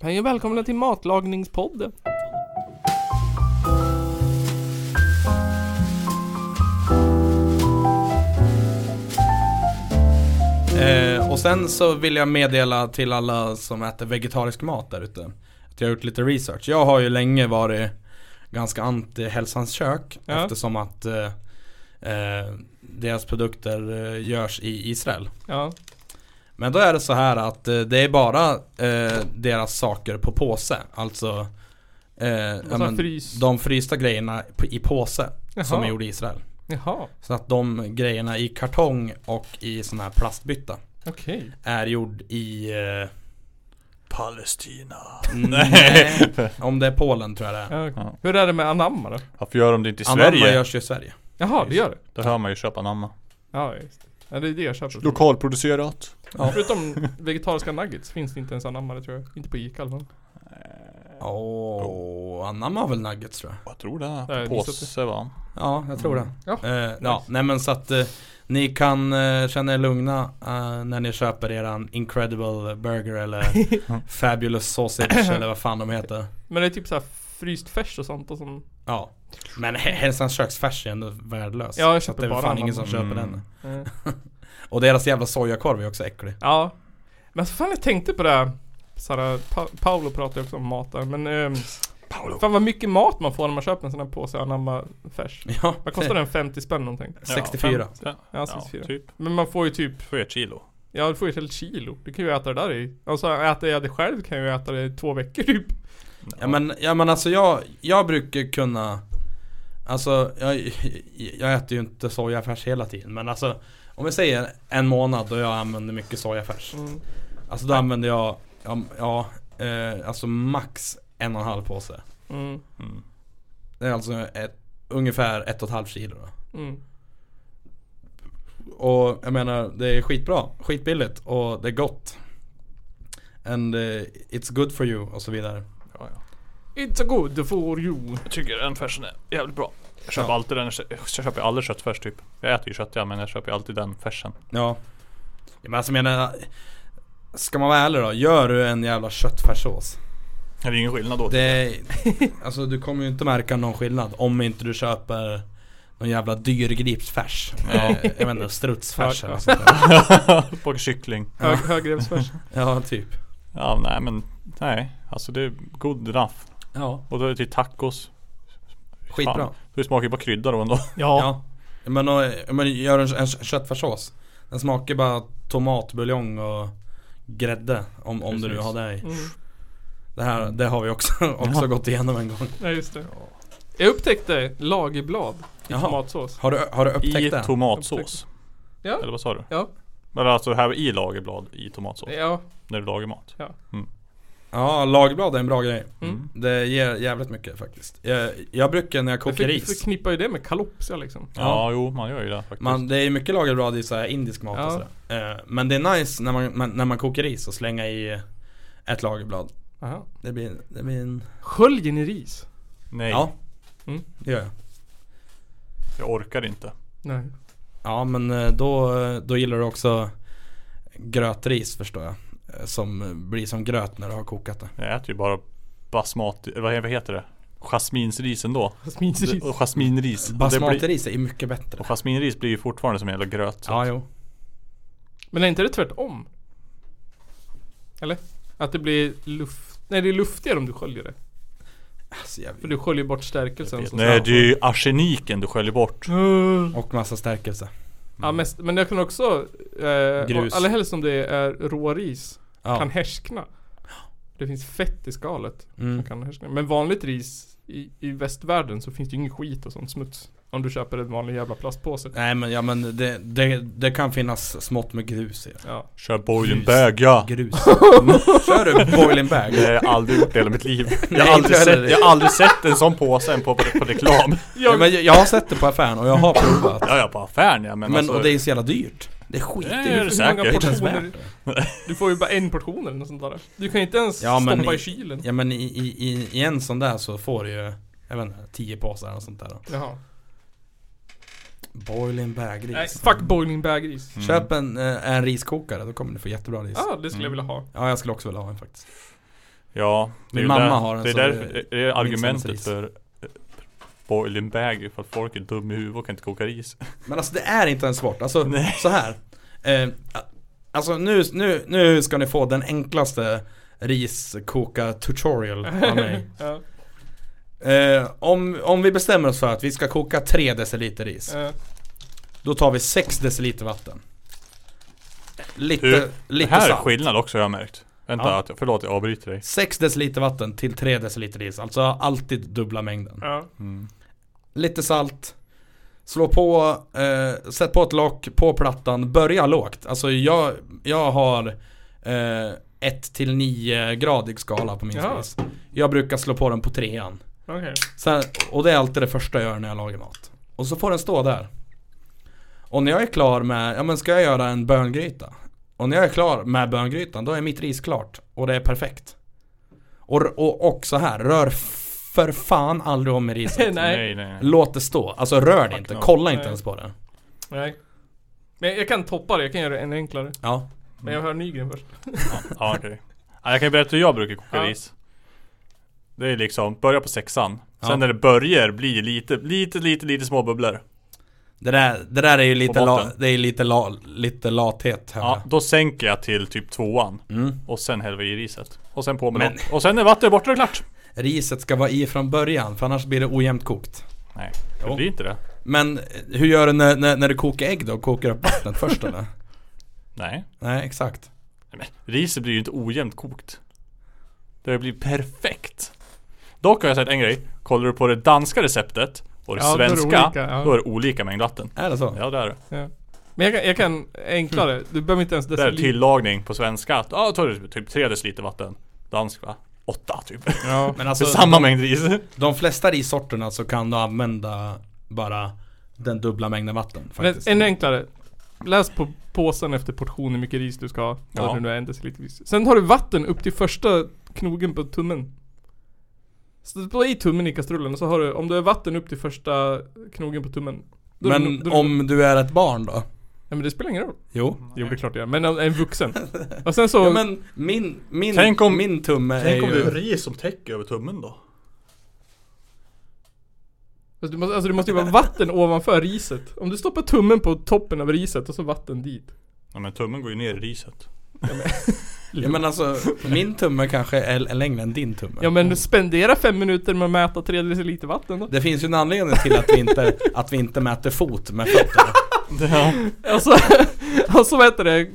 Hej och välkomna till Matlagningspodden. Eh, och sen så vill jag meddela till alla som äter vegetarisk mat där ute Att jag har gjort lite research. Jag har ju länge varit ganska anti Hälsans Kök Ja. eftersom att eh, eh, deras produkter eh, görs i Israel. Ja, Men då är det så här att eh, det är bara eh, deras saker på påse. Alltså eh, ja, men, men, frys. de frysta grejerna på- i påse Jaha. som är gjorda i Israel. Jaha, Så att de grejerna i kartong och i sån här plastbytta okej. är gjord i... Eh, Palestina. nej. Om det är Polen tror jag det är. Ja, Ja. Hur är det med anamma då? Varför gör de det inte i Anamma Sverige? görs ju i Sverige. Jaha, det gör det. Då hör man ju köpa anamma. Ja, just det. Ja, det är det jag köper. Lokalproducerat. Ja. Förutom vegetariska nuggets finns det inte ens anammare tror jag. Inte på Ica i alla fall. Åh, Oh. Anamma har väl nuggets tror jag. Eh, Jag tror det. Nej, På Påse va? Ja, jag tror det. Mm. Ja. Eh, ja, nej men så att eh, ni kan eh, känna er lugna eh, när ni köper eran Incredible Burger eller Fabulous Sausage eller vad fan de heter. Men det är typ så här fryst färs och sånt och som... Ja. Men Hä- Hälsans Köksfärs är ändå värdelös. Ja, jag så att köper det är bara fan anamma. ingen som köper Mm. den. Eh. Och deras jävla sojakorv är också äcklig. Ja. Men så fan jag tänkte på det här. Sara, pa- Paolo pratade ju också om mat där, men... ehm, Fan vad mycket mat man får när man köper en sån här påse anamma färs. Ja, Vad kostar den? 50 spänn någonting? 64. Ja, Ja, ja 64. typ. Men man får ju typ, 4 kilo. ja du får ju ett helt kilo. Du kan ju äta det där i, alltså äter jag det själv kan jag ju äta det i två veckor typ. Ja men, ja men alltså jag, jag brukar kunna Alltså jag, jag äter ju inte sojafärs hela tiden men alltså Om vi säger en månad då jag använder mycket sojafärs Mm. Alltså då använder jag, ja, ja eh, alltså max en och en halv påse Mm. Mm. Det är alltså ett, ungefär ett och ett halvt kilo då. Mm. Och jag menar det är skitbra, skitbilligt och det är gott And eh, it's good for you och så vidare Ja, ja. It's a good for you. Jag tycker den färsen är jävligt bra. Jag köper Ja. alltid den. Jag köper aldrig köttfärs typ. Jag äter ju kött ja, men jag köper ju alltid den färsen. Ja. ja men alltså jag menar, ska man vara ärlig då, gör du en jävla köttfärssås. Det är ingen skillnad då. Det, är- alltså du kommer ju inte märka någon skillnad om inte du köper någon jävla dyr gripsfärs. Eh, Jag vet inte, strutsfärs eller något sånt där. på kyckling. Hög, Högrevsfärs. Ja, typ. Ja, nej men. Nej, alltså det är god raff. Ja. Och då är det till tacos. Skitbra. Fan, Det smakar ju bara krydda då ändå. Ja. Men, och, men gör en, en köttfärssås. Den smakar bara tomat, buljong och grädde. Om, om du nu Precis. har det i. Mm. Det här, det har vi också, också Ja. gått igenom en gång. Nej just det. Jag upptäckte lagerblad i Jaha. tomatsås. Har du, har du I upptäckt det? tomatsås. Ja. Eller vad sa du? Ja. Men alltså här i lagerblad i tomatsås. Ja. När du lagar mat. Ja, lagerblad är en bra grej. Mm. Det ger jävligt mycket faktiskt. Jag, jag brukar när jag Jag kokar för- ris. förknippar ju det med kalopsia liksom. Ja, Ja. jo man gör ju det faktiskt. Man, det är mycket lagerblad i så här indisk mat och Ja. sådär. Eh, Men det är nice när man, man, när man kokar ris och slänga i ett lagerblad. Aha. Det blir, det blir en... Sköljer ni ris? Nej, Ja. Mm. Det gör jag. jag orkar inte. Nej. Ja men eh, då, då gillar du också grötris förstår jag. Eh, Som blir som gröt när du har kokat det. Jag äter ju bara basmati, eller vad vad heter det? Jasminsris ändå. Jasminris. Och jasminris. Och det blir- Basmatiris är mycket bättre. Och jasminris blir ju fortfarande som en jävla gröt. Ja jo. Men är inte det tvärtom? Eller? Att det blir luft... Nej det är luftigare om du sköljer det. Alltså, jag, För du sköljer bort stärkelsen. som Nej ska- det är ju arseniken du sköljer bort. Mm. och massa stärkelse. Ja, mest, men jag kan också... Eh, Mm. Grus. Grus. Allra helst om det är råris. Kan Ja. härskna. Det finns fett i skalet. Mm. som Kan härskna. Men vanligt ris i, i västvärlden så finns det ju ingen skit och sånt smuts. Om du köper en vanlig jävla plastpåse. Nej men, ja, men det, det, det kan finnas smått med grus i det. Ja. Kör boiling Grus. bag ja. Grus. Kör du boiling bag? Det har jag aldrig gjort i hela mitt liv. Jag inte har aldrig, heller. sett, jag har aldrig sett en sån påse än på, på, på reklam. Ja, men jag, jag har sett det på affären och jag har provat. Ja ja på affären ja men, Men alltså, och det är så jävla dyrt. Det är skit. Nej, det det är är ju- det Hur många säkert. portioner? värt Du får ju bara en portion eller något sånt där. Du kan ju inte ens Ja, men stoppa i, i- kylen. Ja men i, i, i, i en sån där så får du ju, jag vet inte, 10 påsar eller sånt där. då. Jaha. Boiling bag Nej, ris. fuck boiling bag-ris. Mm. Köp en, eh, en riskokare, då kommer du få jättebra ris. Ja, ah, det skulle jag Mm. vilja ha. Ja jag skulle också vilja ha en faktiskt. Ja, det är Min ju mamma där, har en Det är sån, därför, det är argumentet ris. för eh, boiling bag, för att folk är dumma i huvudet och kan inte koka ris. Men alltså det är inte ens svårt, alltså Nej. så här. Eh, alltså nu, nu, nu ska ni få den enklaste riskoka tutorial av mig. Ja, Eh, om, om vi bestämmer oss för att vi ska koka 3 deciliter ris. eh, Då tar vi 6 deciliter vatten. Lite, Du, Det lite här är salt. skillnad också har jag märkt. Vänta, Ja. att, jag- förlåt jag avbryter dig. 6 deciliter vatten till 3 deciliter ris. Alltså alltid dubbla mängden. ja. Mm. Lite salt. Slå på, eh, sätt på ett lock på plattan. Börja lågt. Alltså jag, jag har eh, 1-9 gradig skala på min Jaha. spis. Jag brukar slå på den på trean. Okej. Sen, och det är alltid det första jag gör när jag lagar mat. Och så får den stå där. Och när jag är klar med, ja men ska jag göra en böngryta? Och när jag är klar med böngrytan, då är mitt ris klart. Och det är perfekt. Och, och, och så här, rör f- för fan aldrig om med riset. Nej. Nej, nej. nej. Låt det stå, alltså rör det Fuck inte, no. kolla inte Nej. ens på det. Nej. Men jag kan toppa det, jag kan göra det ännu enklare. Ja. Men jag Mm. hör Nygren först. Ja, okej. Ja, jag kan berätta hur jag brukar koka Ja. ris. Det är liksom, börja på sexan. Sen Ja. när det börjar bli lite, lite, lite, lite små bubblor. Det där, det där är ju lite, På la, botten. det är lite, la, lite lathet här. Ja, då sänker jag till typ tvåan. Mm. Och sen häller vi i riset. Och sen på med Men- lock. Och sen när vattnet är borta är det klart. Riset ska vara i från början, för annars blir det ojämnt kokt. Nej, Jo. det blir inte det. Men eh, hur gör du när, när, när du kokar ägg då? Kokar du upp vattnet först eller? Nej. Nej, exakt. Men, riset blir ju inte ojämnt kokt. Det blir perfekt. Dock har jag sett en grej. Kollar du på det danska receptet och det Ja, då är det svenska, olika, ja. då är det olika mängd vatten. Är det så? Ja det är det. Men jag kan, jag kan enklare, Mm. du behöver inte ens Det är deciliter. tillagning på svenska. att, Ja, då tar du typ 3 deciliter vatten. Dansk va? 8 typ. Ja. Men För alltså, samma mängd ris. de flesta rissorterna så kan du använda bara den dubbla mängden vatten Men faktiskt. ännu enklare. Läs på påsen efter portion hur mycket ris du ska ha. Ja. Eller nu är en deciliter ris. Sen tar du vatten upp till första knogen på tummen. Så på i tummen i kastrullen och så har du, om du har vatten upp till första knogen på tummen. då är det Men nog- då är det nog- om du är ett barn då? Nej men det spelar ingen roll. Jo. Jo det är klart det gör. Men en en vuxen. Och sen så... Ja, men min, min, Tänk om- min tumme är ju... ris som täcker över tummen då? Fast du måste, alltså det måste ju vara vatten ovanför riset. Om du stoppar tummen på toppen av riset och så vatten dit. Ja men tummen går ju ner i riset. Ja men alltså, min tumme kanske är är längre än din tumme. Ja Mm. men spendera fem minuter med att mäta tre deciliter vatten då. Det finns ju en anledning till att vi inte, att vi inte mäter fot med fötterna. Ja. Alltså, alltså vad heter det?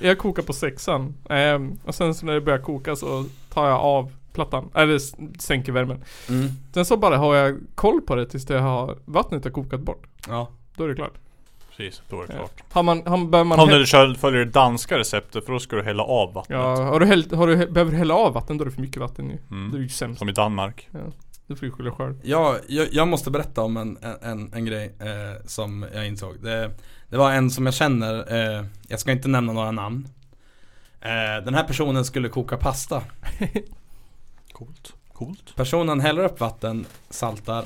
Jag kokar på sexan. Ehm, och sen så när det börjar koka så tar jag av plattan. Eller s- sänker värmen. Mm. Sen så bara har jag koll på det tills det har, vattnet har kokat bort. Ja. Då är det klart. Precis, då är det Ja. klart. Har man, har, behöver man... Om hä- du kör, följer det danska receptet för då ska du hälla av vattnet. ja, har du, hällt, har du hä- behöver hälla av vatten då är det för mycket vatten ju. Mm. Det är ju sämst. Som i Danmark. Det får du skylla dig själv. Jag, jag, jag måste berätta om en, en, en grej eh, som jag insåg. Det, det var en som jag känner, eh, jag ska inte nämna några namn. Eh, den här personen skulle koka pasta. Coolt. Coolt. Personen häller upp vatten, saltar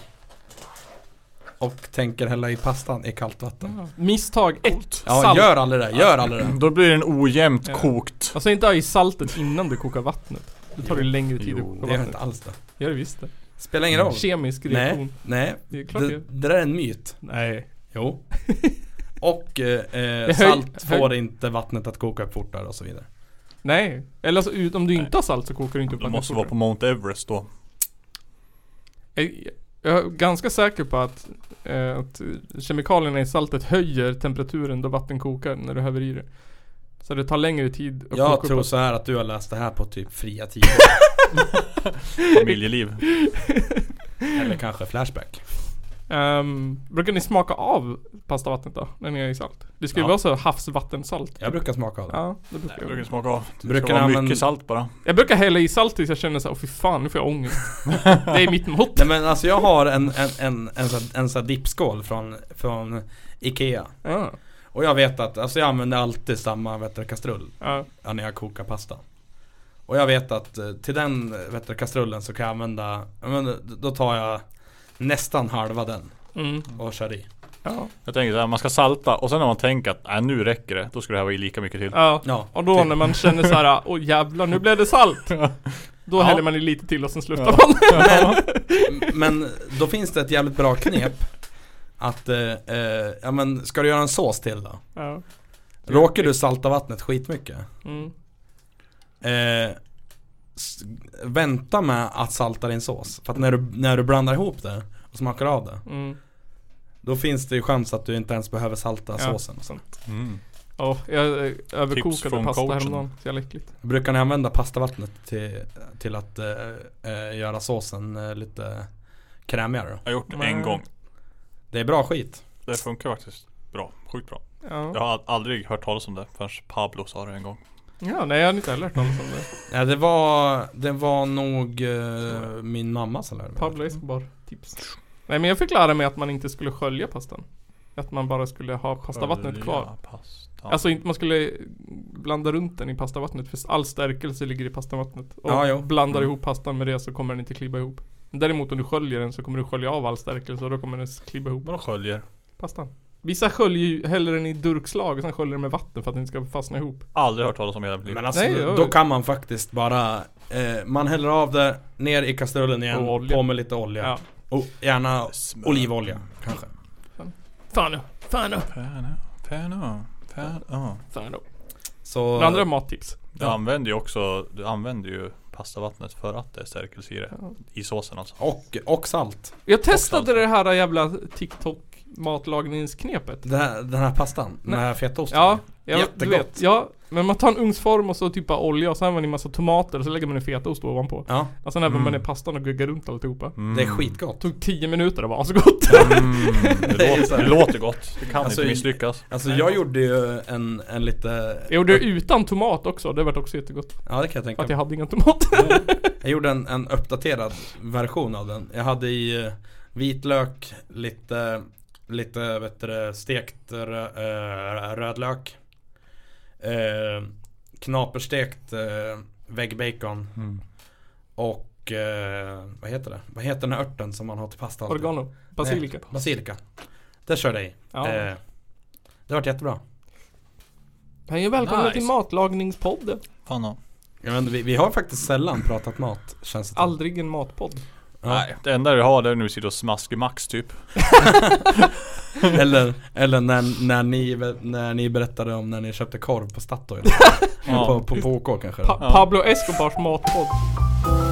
och tänker hälla i pastan i kallt vatten. Ah. Misstag ett. Ja, Mm. Salt. Mm. gör aldrig det, gör aldrig det. Då blir den ojämnt Ja. kokt. Alltså inte ha i saltet innan du kokar vattnet. Det tar ju längre tid Jo, att Det koka gör vattnet. inte alls det. Gör det visst det. Spelar ingen roll. Kemisk Nej. reaktion. Nej, Det är klart det det, gör. det där är en myt. Nej. Jo. Och eh, eh, höj- salt höj- får inte vattnet att koka upp fortare och så vidare. Nej. Eller alltså ut, om du inte har salt så kokar du inte upp Du måste vattnet vara på fortare. Mount Everest då. Jag- Jag är ganska säker på att, eh, att kemikalierna i saltet höjer temperaturen då vatten kokar när du häver i det. Så det tar längre tid att Jag koka tror upp. så här att du har läst det här på typ fria tider. Familjeliv. Eller kanske Flashback. Ehm, brukar ni smaka av pastavattnet då? När ni är i salt? Det ska ju Ja. vara så här havsvattensalt. Jag brukar smaka av det. Ja, det brukar Jag jag. brukar smaka av. Det Brukar ska vara ni mycket använda- salt bara. Jag brukar hälla i salt tills jag känner såhär, åh fy fan nu får jag ångest. det är mitt mått. Nej men alltså jag har en, en, en, en, sån- en sån här dippskål från, från Ikea. Ja, Och jag vet att, alltså jag använder alltid samma vet du, kastrull ja, ja, när jag kokar pasta. Och jag vet att eh, till den vet du, kastrullen så kan jag använda, ja, men då tar jag nästan halva den mm, och kör i. ja. Jag tänker såhär, man ska salta och sen när man tänker att nej, nu räcker det. Då ska det här vara i lika mycket till. ja. typ. Ja. Och då när man känner såhär, åh jävlar nu blev det salt. Då Ja. häller man i lite till och sen slutar man. Men, men då finns det ett jävligt bra knep Att, eh, eh, ja men ska du göra en sås till då? Ja. Råkar du salta vattnet skitmycket? Mm. Eh, s- vänta med att salta din sås För att när du, när du blandar ihop det och smakar av det Mm. Då finns det ju chans att du inte ens behöver salta Ja. såsen Mm. Ja, jag eh, Tips överkokade från pasta coachen. häromdagen. Så jävla äckligt. Brukar ni använda pastavattnet till, till att eh, eh, göra såsen eh, lite krämigare då? Jag har gjort det Nej. en gång. Det är bra skit Det funkar faktiskt bra. Sjukt bra. Jag Ja. har al- aldrig hört talas om det förrän Pablo sa det en gång. ja, nej jag har inte heller hört talas om det. Ja det var, det var nog eh, min mamma som lärde mig Pablo Escobar, tips. Nej men jag fick lära mig att man inte skulle skölja pastan. Att man bara skulle ha pastavattnet kvar. Skölja Pasta. Alltså inte man skulle blanda runt den i pastavattnet för all stärkelse ligger i pastavattnet. Och Ja, jo. blandar Mm. ihop pastan med det så kommer den inte klibba ihop. Däremot om du sköljer den så kommer du skölja av all stärkelse och då kommer den klibba ihop Vadå sköljer? pastan. Vissa sköljer ju, häller den i durkslag och sen sköljer den med vatten för att den inte ska fastna ihop. Aldrig hört talas om i hela mitt liv. Men alltså Nej, då, jag- då kan man faktiskt bara eh, Man häller av det, ner i kastrullen igen, Och olja. på med lite olja Ja. Och gärna Smör. olivolja kanske Fan nu, fan nu, Färna, färna, färna. fan nu. Så Några andra mattips? Du använder ju också, du använder ju pastavattnet för att det är stärkelse i det. I såsen alltså. och, och salt Jag testade det här jävla TikTok matlagningsknepet. Den här, den här pastan, Nej. den här fetaosten Ja, ja du Jättegott. vet. Ja, men man tar en ugnsform och så typ av olja och så använder man en massa tomater och så lägger man en fetaost ovanpå. Ja, Och sen även Mm. Alltså man ner pastan och guggar runt alltihopa. Mm. det är skitgott Tog 10 minuter och var asgott. Mm. Det är Det, så låter, här. det låter gott. Det kan Alltså, inte misslyckas. Alltså jag gjorde ju en, en lite Jag gjorde det utan tomat också, det vart också jättegott. Ja det kan jag För tänka att jag mig hade inga tomater. Jag gjorde en, en uppdaterad version av den Jag hade i eh, vitlök, lite, lite vet du, det, stekt rö, eh, rödlök eh, Knaperstekt eh, väggbacon Mm. och eh, vad heter det? Vad heter den här örten som man har till pasta? alltid? Oregano. Basilika. Nej, basilika Det körde jag i Ja. eh, Det vart jättebra Hej och välkomna nice. till matlagningspodden. Fan då. jag vet, inte, vi, vi har faktiskt sällan pratat mat känns det som. Aldrig en matpodd. Ja. Nej, det enda du har det är nu sitter och smaskar Max typ. Eller, eller när, när, ni, när ni berättade om när ni köpte korv på Statoil Ja. På, på, på OK kanske Pa Ja. Pablo Escobars matpodd.